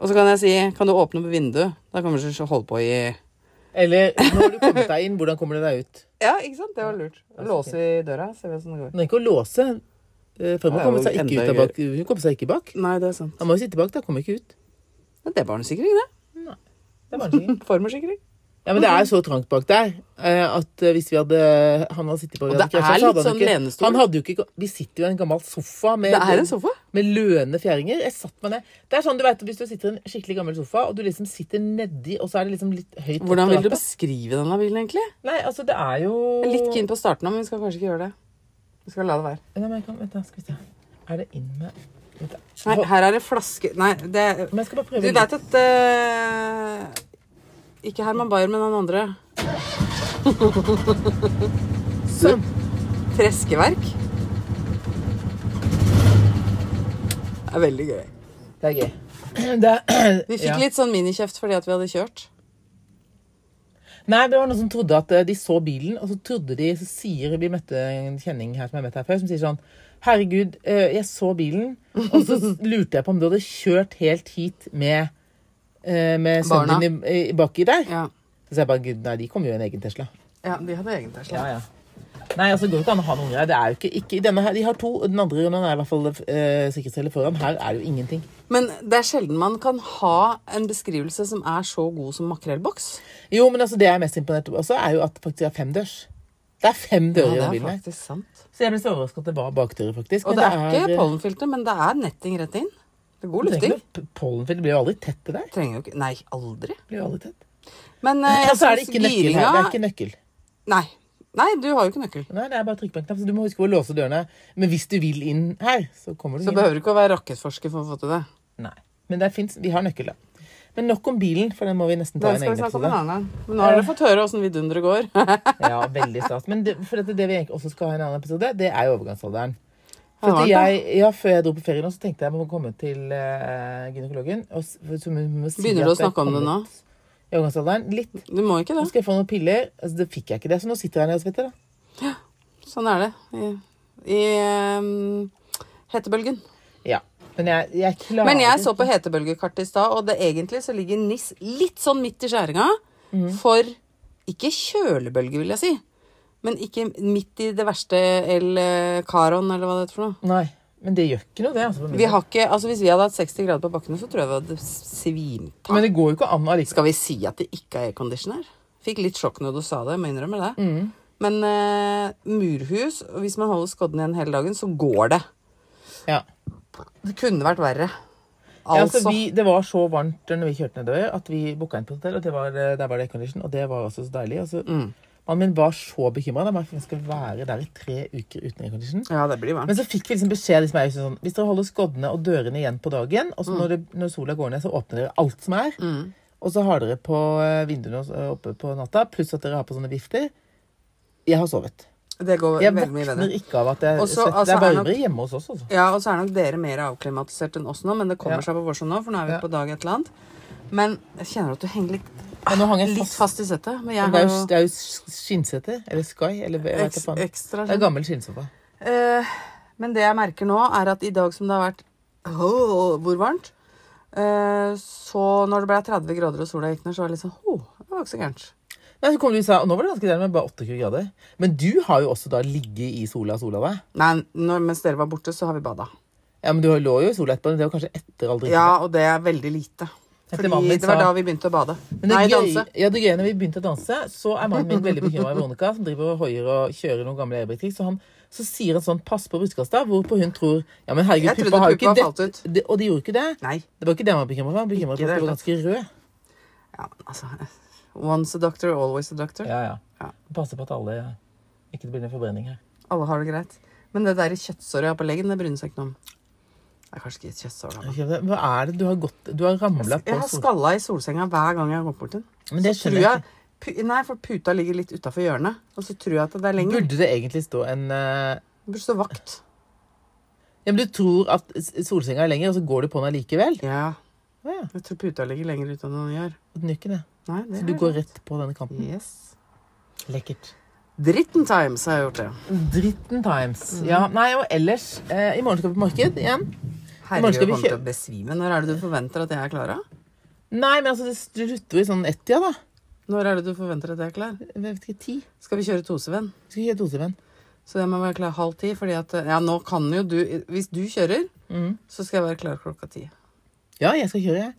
Og så kan jeg si Kan du åpne opp vinduet? Da kommer du til å holde på i Eller når du kommer deg inn, hvordan kommer du deg ut? Ja, ikke sant? Det var lurt. Låse i døra, ser vi åssen det går. Hun er ikke å låse. eh, For Det man er jo kommer seg ikke enda ut av bak. Hun kommer seg ikke bak. Nei, det er sant. Han må jo sitte bak, da. Kommer ikke ut. Men det var han sikkert ikke, det. Det er barneskikkelig. Mm, Formersikring. Ja, men det er så trangt bak der eh, at eh, hvis vi hadde Han hadde sittet på vi Og hadde det krasjet, er så hadde litt han sånn ikke- lenestol. Han hadde jo ikke Vi sitter jo i en gammel sofa med, Det er en sofa. med løende fjæringer. Jeg satt meg ned. Det er sånn du vet, Hvis du sitter i en skikkelig gammel sofa, og du liksom sitter nedi, og så er det liksom litt høyt opp Hvordan til vil du rattet. beskrive denne bilen, egentlig? Nei, altså, det er jo Jeg er litt keen på starten nå, men vi skal kanskje ikke gjøre det. Vi skal la det være. Nei, men jeg kan, vent, da, skal vi se. Er det inn med vent, da. Nei, her er det flaske... Nei, det Men jeg skal bare prøve Du veit at eh, Ikke Herman Bayer, men han andre. Sånn. Treskeverk. Det er veldig gøy. Det er gøy. Det er, Vi ja. fikk litt sånn minikjeft fordi at vi hadde kjørt. Nei, det var noen som trodde at eh, de så bilen, og så trodde de Så sier vi møtte en kjenning her som jeg har møtt her før, som sier sånn Herregud, eh, jeg så bilen, og så lurte jeg på om du hadde kjørt helt hit med, eh, med Barna. sønnen din i, i baki der. Ja. Så sa jeg bare gud, nei, de kommer jo i en egen Tesla. ja de hadde egen Tesla. Ja, ja. Nei, altså, det går jo ikke an å ha noen greier. Det er jo ikke, ikke denne her, De har to, og den andre runden er i hvert fall uh, sikkerhetscelle foran. Her er det jo ingenting. Men det er sjelden man kan ha en beskrivelse som er så god som makrellboks. Jo, men altså, det jeg er mest imponert over også, er jo at det faktisk er fem dørs. Det er fem dører i den bilen her. sant. Så jeg ble så overrasket at det var bakdører, faktisk. Og men det er ikke eh, pollenfilter, men det er netting rett inn. Det er god det er ikke lufting. noe p- Pollenfilter blir jo aldri tett, det der. Trenger jo ikke Nei, aldri. Blir jo aldri tett. Men eh, Og jeg så er det synes ikke nøkkel her. Det er ikke nøkkel. Nei. Nei, du har jo ikke nøkkel. Nei, det er bare trykk på en knapp, så du må huske å låse dørene. Men hvis du vil inn her, så kommer du Så inn. behøver du ikke å være rakettforsker for å få til det. Nei. Men det fins Vi har nøkkel, da. Men nok om bilen, for den må vi nesten ta i Den en skal vi egen snakke om en episode. annen gang. Men nå har dere fått høre åssen vidunderet går. Ja, veldig stas. Men det, for dette, det vi egentlig også skal ha i en annen episode, det er jo overgangsalderen. For Har at det vært jeg, ja, før jeg dro på ferie nå, så tenkte jeg jeg må komme til eh, gynekologen. Og, s- for- så hun må si Begynner at du å jeg snakke om kom det nå? ut I overgangsalderen? Litt. det? Du må ikke Nå det. skal jeg få noen piller. Altså, det fikk jeg ikke det, så nå sitter jeg her nede og svetter. da. Sånn er det. I, i ehm, hetebølgen. Ja. Men jeg, jeg klarer Men jeg ikke. så på hetebølgekartet i stad, og det egentlig så ligger NIS litt sånn midt i skjæringa. Mm. For ikke kjølebølge, vil jeg si. Men ikke midt i det verste El Caron, eller hva det heter for noe. Nei, men det gjør ikke noe, det. Altså, for min Vi del. har ikke, altså Hvis vi hadde hatt 60 grader på bakkene, så tror jeg vi hadde svimt av. Men det går jo ikke an allikevel. Skal vi si at det ikke er aircondition her? Fikk litt sjokk når du sa det, jeg må innrømme det. Mm. Men eh, murhus, og hvis man holder skodden igjen hele dagen, så går det. Ja. Det kunne vært verre. Ja, Altså. altså, vi, det var så varmt når vi kjørte nedover at vi booka inn på hotell. Og det var, eh, der var det aircondition, og det var også så deilig. Og så, Mm. Mannen min var så bekymra. Han skal være der i tre uker uten aircondition. ja, det blir varmt. Men så fikk vi liksom beskjed liksom, jeg, sånn, Hvis dere holder skoddene og dørene igjen på dagen, Mm. og så når, det, når sola går ned, så åpner dere alt som er. Og så har dere på eh, vinduene også, eh, oppe på natta, pluss at dere har på sånne vifter. Jeg har sovet. Det går Jeg veldig mye bedre. våkner ikke av at jeg Og så, svetter. altså, det er er nok- varmere hjemme hos oss, altså. Ja, og så er nok dere mer avklimatisert enn oss nå, men det kommer Ja. seg på vårsiden nå, for nå er vi Ja. på dag et eller annet. Men jeg kjenner at du henger litt, Ja, nå hang jeg litt fast. fast i settet. Men jeg Det er har jo, jo det er jo Skinnsete, eller Sky, eller jeg vet eks, ikke faen. ekstra Det er gammel skinnsofa. Eh, men det jeg merker nå, er at i dag som det har vært Åh, hvor varmt eh, Så når det ble 30 grader og sola gikk ned, så var det litt sånn «Åh, det var ikke så gærent. Nei, så kom du og sa, og nå var det ganske deilig med bare 28 grader. Men du har jo også da ligget i sola og sola deg. Nei, når, mens dere var borte, så har vi bada. Ja, men du lå jo i sola etterpå, men det var kanskje etter all drikken. Ja, og det er veldig lite. Etter Fordi mannen min det var sa- da vi begynte å bade. Men det Nei, gøy, danse. Ja, det gøye når vi begynte å danse, så er mannen min veldig bekymra i Veronica, som driver og hoier og kjører noen gamle airbrake-triks. Så, han- så sier han sånn 'pass på brystkassa', hvorpå hun tror Ja, men herregud, Jeg trodde puppa har jo puppa ikke falt det. ut. det. Og de gjorde ikke det. Nei. Det var ikke det han var bekymra for. Han var bekymra for Ikke at det du var ganske rød. Ja, men altså Once a doctor, always a doctor. Ja, ja. Ja. Passe på at alle ikke det blir noen forbrenning her. Alle har det greit. Men det der kjøttsåret jeg har på leggen, det bryr hun seg ikke noe om. Det er kanskje ikke et kjøttsår, da. men- Hva er det du har gått Du har ramla på altså. Jeg har sola. skalla i solsenga hver gang jeg har gått bort til den. Men det Så skjønner tror jeg pu- Nei, for puta ligger litt utafor hjørnet. Og så tror jeg at det er lenger. Burde det egentlig stå en eh, Det burde stå vakt. Ja, men Du tror at s- solsenga er lenger, og så går du på den allikevel? Ja, Å Ja, jeg tror puta ligger lenger ute enn den gjør. den gjør ikke det. Nei, det Så er du går rart. rett på denne kanten. Yes. Lekkert. Dritten times har jeg gjort det. Dritten Mm. times. Ja, nei, og ellers eh, I morgen skal vi på marked igjen. morgen skal Herregud, jeg vi kommer til kjø- å besvime. Når er det du forventer at jeg er klar? da? Nei, men altså, det strutter jo i sånn ett-tida, da. Når er det du forventer at jeg er klar? Jeg vet ikke, ti? Skal vi kjøre tosevenn? Vi skal kjøre tosevenn. Så jeg må være klar halv ti, fordi at eh, Ja, nå kan jo du Hvis du kjører, så skal jeg være klar klokka ti. Mm. Ja, jeg skal kjøre, jeg.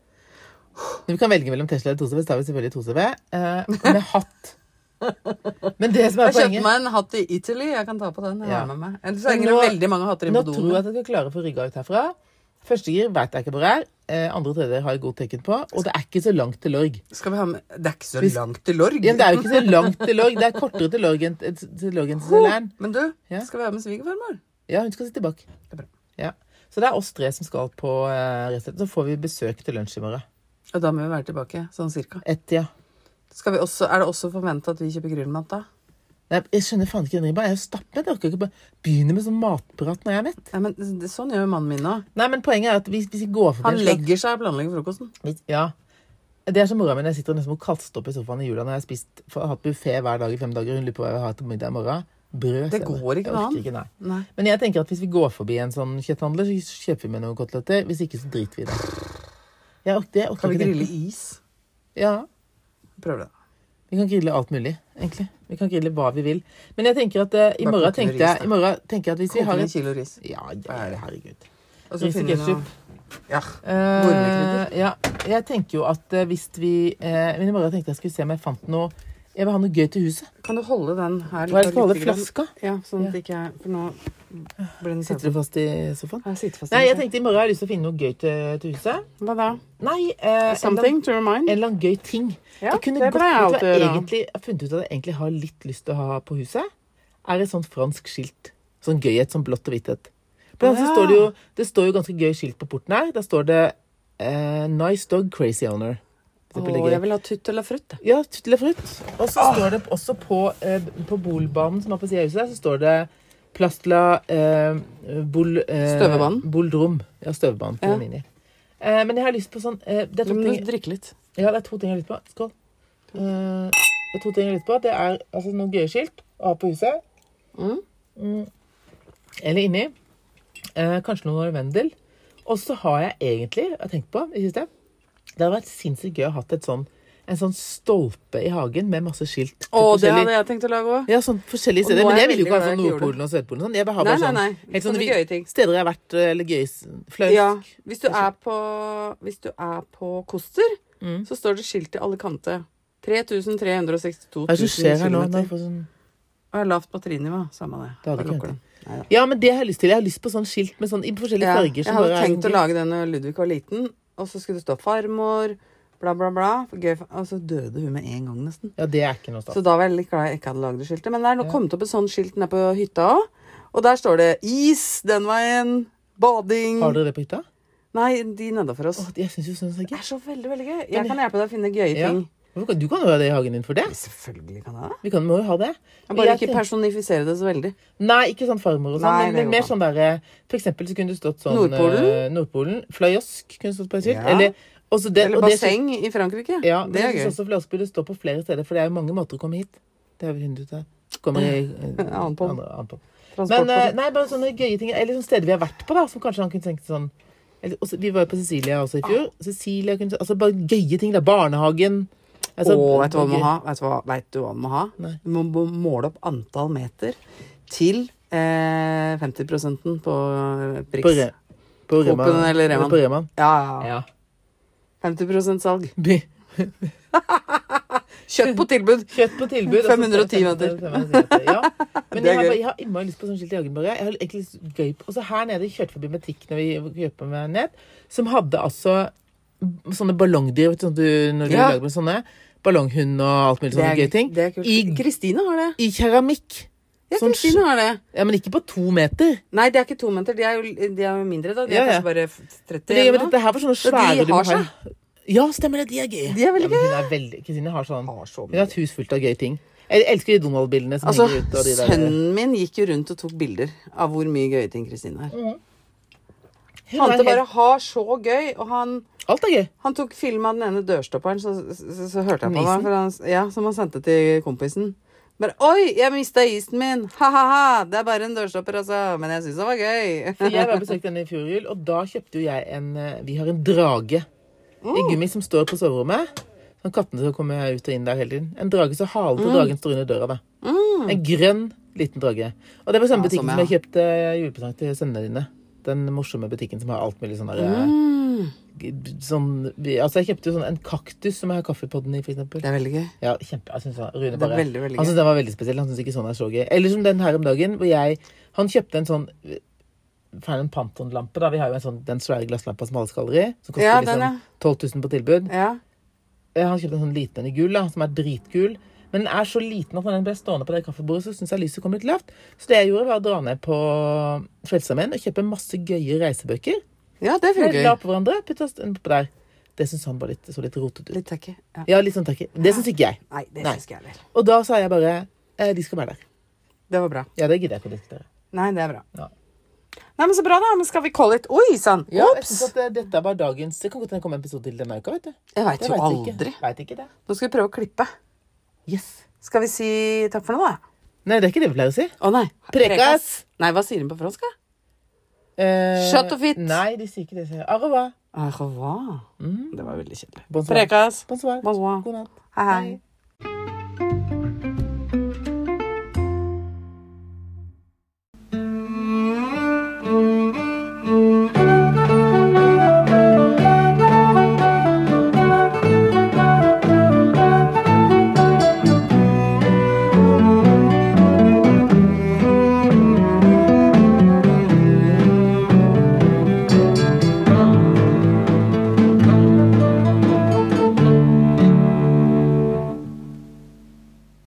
Men vi kan velge mellom Tesla eller 2CV, så tar vi selvfølgelig 2CV. Eh, med hatt. Men det som er Jeg kjøpte poenget meg en hatt i Italy. Jeg kan ta på den. Jeg Ja. har med meg. Ellers Men henger det nå- veldig mange hatter Nå inne på tror jeg doen. at jeg skal klare å få rygga ut herfra. Første gir veit jeg ikke hvor er. Eh, andre og tredje har jeg god tekken på. Og det er ikke så langt til Lorg. Skal vi ha med Det er ikke så Hvis- langt til Lorg. Ja, men det er jo ikke så langt til Lorg. Det er kortere til Lorg enn til Lorg enn til Lern. Men du, Ja. skal vi ha med svigerfarmor? Ja, hun skal sitte bak. er bra. Ja. Så det er oss tre som skal på eh, rett og slett. Så får vi besøk til lunsj i morgen. Og da må vi være tilbake, sånn cirka. Ett-tida. Skal vi også, er det også forventa at vi kjøper grillmat da? Nei, jeg skjønner faen ikke den ribba. Jeg er jo stappmett. Jeg orker ikke bare begynne med sånn matprat når jeg er mett. Nei, men det, Sånn gjør jo mannen min òg. Nei, men poenget er at hvis, hvis vi går forbi Han en slags- legger seg og planlegger frokosten. hvis, Ja. Det er som mora mi. når Jeg sitter og nesten må kaste opp i sofaen i jula når jeg har spist, for, hatt buffé hver dag i fem dager. Hun lurer på hva jeg vil ha til middag i morgen. Brød. Det sier jeg går bare. ikke Jeg med orker han. Ikke, nei. Nei. Men jeg tenker at hvis vi går forbi en sånn kjøtthandler, så kjøper vi med noen koteletter. Hvis ikke, så driter vi i det. Jeg orker, jeg orker Kan vi ikke det. grille is? Ja. Prøv det. Vi kan grille alt mulig, egentlig. Vi kan grille hva vi vil. Men jeg tenker at eh, i Bare morgen koke med tenkte jeg, ris, da. i morgen tenker jeg at hvis vi Koke har ned en et kilo ris. Ja, ja, ja, herregud. Og så Ris og finner vi noe ketsjup. Ja. Eh, Gormekrydder. ja, jeg tenker jo at eh, hvis vi eh, Men i morgen tenkte jeg skulle se om jeg fant noe Jeg vil ha noe gøy til huset. Kan du holde den her? Og jeg skal holde lite grann? flaska. Ja, sånn at Ja. ikke jeg For nå blir den Sitter du fast i sofaen? Jeg sitter fast i Nei, jeg den. tenkte i morgen har jeg lyst til å finne noe gøy til, til huset. Hva da? Nei, eh, en eller Something annen- to remind? en eller annen gøy ting. Ja, jeg kunne det godt pleier jeg vet du hva jeg alltid å gjøre. egentlig, jeg har funnet ut at jeg egentlig har litt lyst til å ha på huset. Er et sånt fransk skilt. Sånn gøyhet, sånn blått og hvitt. et. Blant annet så Ja. står det, jo, det står jo ganske gøy skilt på porten her. Der står det eh, Nice dog, crazy owner. Det Å, ligger- jeg vil ha tutt eller frutt. jeg. Ja, tuttle frutt. Og så står det også på, eh, på bolbanen som er på siden av huset, der, så står det Plastla eh, bol, eh, Støvebanen. Boldrom. Ja, støvebanen. på Ja. den linjen. Eh, men jeg har lyst på sånn eh, det, er Du to må ting, drikke litt. ja, det er to ting jeg har lyst på. Skål. Eh, det er to ting jeg har lyst på. Det er altså, noen gøye skilt å ha på huset. Mm. Mm. Eller inni. Eh, kanskje noen Vendel. Og så har jeg egentlig jeg har tenkt på i siste, Det hadde vært sinnssykt gøy å ha hatt et sånn, en sånn stolpe i hagen med masse skilt. til Å, det forskjellige- hadde jeg tenkt å lage òg. ja, sånn forskjellige Og steder. nå er Men jeg jeg ville jo ikke veldig ha glad sånn jeg ikke gjorde Nordpolen og Sydpolen og sånn. Jeg vil ha Nei, bare nei, sånn, nei. helt sånne Sånne vi- gøye ting. steder jeg har vært, eh, eller gøy fløy. Ja. Hvis du er på, hvis du er på Koster, Mm. så står det skilt til alle kanter. 3362 Hva er det som 000 skjer her nå? Nå kilometer. får jeg sånn- Og jeg lavt batterienivå. Samme det. Det hadde Da ikke lukker hendt. den. Neida. Ja, men det har jeg lyst til. Jeg har lyst på sånn skilt med sånn i forskjellige Ja, farger. jeg som hadde bare er tenkt å sånn- lage den når Ludvig var liten, og så skulle det stå farmor, bla, bla, bla. Gøy, fa- og så døde hun med en gang, nesten. Ja, det er ikke noe stas. Så da var jeg litt glad jeg ikke hadde lagd det skiltet. Men det er nå Ja. kommet opp et sånt skilt nede på hytta òg. Og der står det 'is den veien', 'bading' Har dere det på hytta? Nei, de nedafor oss. Åh, jeg synes jo sånn er så Det gøy. er så veldig, veldig gøy. Jeg kan hjelpe deg å finne gøye Ja. ting. Hvorfor kan- Du kan jo ha det i hagen din for det. Selvfølgelig kan jeg det. Vi kan, må jo ha det. Jeg bare Jeg ikke tenker- personifisere det så veldig. Nei, ikke sånn farmor og sånn, Nei, men, det men mer går sånn derre For eksempel så kunne det stått sånn Nordpolen? eh, Nordpolen. Fløyosk kunne stått på et skilt. Ja. Eller, også det, Eller og det- basseng i Frankrike. Ja, men det jeg er gøy. synes også Flass burde stå på flere steder, for det er jo mange måter å komme hit. Det har vi funnet ut her. Kommer i Annen podd. andre- annen podd. Men Transport sånn. eh, på nei, bare sånne gøye ting. Eller sånne steder vi har vært på, da, som kanskje han kunne tenkt sånn eller, også, Vi var jo på Cecilia også i fjor. Cecilia kunne Altså bare gøye ting. da, Barnehagen. Å, Altså, vet du hva du må gøy- ha? Vet du hva, vet du hva du må ha? Nei. Du må må måle opp antall meter til eh, 50 på eh, På, Prix. Re, på Coop-en Rema. eller Reman. På Reman. Ja, ja, ja. Ja. 50 salg. By- Kjøtt på tilbud! Kjøtt på tilbud. og så- 510 meter. 510 meter, Ja. Men Det er jeg har, gøy. bare- jeg har innmari lyst på sånn skilt i Hagen, bare. Jeg har egentlig lyst gøy på. Og så her nede kjørte forbi butikk når vi kjøper meg ned, som hadde altså sånne ballongdyr, vet du, sånn du, når du Ja. lager med sånne. Ballonghund og alt mulig sånne gøye ting. det er kult. I- Kristine har det. I keramikk. Ja, Sånn Kristine har det. Ja, men ikke på to meter. Nei, det er ikke to meter. De er jo, de er jo mindre, da. De Ja, er ja. kanskje bare f- 30 Det, men eller noe. dette her var sånne Ja, svære de du må har ha. Ja, stemmer det. De er gøye. De er veldig ja, men hun er veldig, Kristine har sånn Har så Hun har et hus fullt av gøye ting. Jeg elsker de Donald-bildene som Altså, henger ut av de der. sønnen min gikk jo rundt og tok bilder av hvor mye gøye ting Kristine har. Hun Mm. er Tante helt- bare har så gøy, og han Alt er gøy. Han tok film av den ene dørstopperen, så, så, så, så hørte jeg på Isen? meg, for han, ja, som han sendte til kompisen. Bare 'Oi, jeg mista isen min! Ha-ha-ha! Det er bare en dørstopper, altså.' Men jeg syns det var gøy. For jeg var og besøkte henne i fjor jul, og da kjøpte jo jeg en eh, Vi har en drage Mm. i gummi som står på soverommet. Sånn kattene som kommer ut og inn der hele tiden. En drage så halen Mm. på dragen står under døra, da. En grønn, liten drage. Og det var samme Ja, butikken som som jeg jeg kjøpte julepresang til sønnene dine. Den morsomme butikken som har alt mulig sånn derre Mm. Sånn Altså, jeg kjøpte jo sånn en kaktus som jeg har kaffepodden i, for eksempel. Det er veldig gøy. Ja, kjempe, jeg synes han, Rune Det er bare, veldig, han veldig gøy. synes den var veldig spesiell. Han synes ikke sånn er så gøy. Eller som den her om dagen, hvor jeg Han kjøpte en sånn eh, Fan en Panton-lampe, da. Vi har jo en sånn, den svære glasslampa som alle skal i. Som koster Ja, den, liksom ja. 12 000 på tilbud. Ja. Eh, Han kjøpte en sånn liten en i gull, da, som er dritgul. Men den er så liten at når den ble stående på det kaffebordet, så syns jeg lyset kom litt lavt. Så det jeg gjorde, var å dra ned på Frelsesarmeen og kjøpe masse gøye reisebøker. ja, det funker. La på hverandre, putta en på der. Det syns han var litt, så litt rotete ut. Litt tacky. Ja. Ja, litt sånn tacky. Det syns ikke jeg. Nei, det Nei. syns ikke jeg heller. Og da sa jeg bare eh, De skal være der. Det var bra. Ja, det gidder jeg ikke å diskutere. Nei, det er bra. Ja. Nei, men så bra, da. Men skal vi call it? Oi sann! Ja, jeg Ops! synes at eh, dette var dagens Det kan godt hende det kommer en episode til denne uka, vet du. Jeg veit Det jo vet vi aldri. Ikke. Vet ikke det. Nå skal vi prøve å klippe. Yes. Skal vi si takk for nå, da? Nei, det er ikke det vi pleier å si. Å nei. Prekas. Nei, hva sier den på fransk, da? Eh, Shut up it. Nei, de sier ikke det. De sier, Au revoir. Au Ah, revoir. Mm. Det var veldig kjedelig. Bonsoir. Prekas. Bonsoir. Bonsoir. God natt. Hei. hei.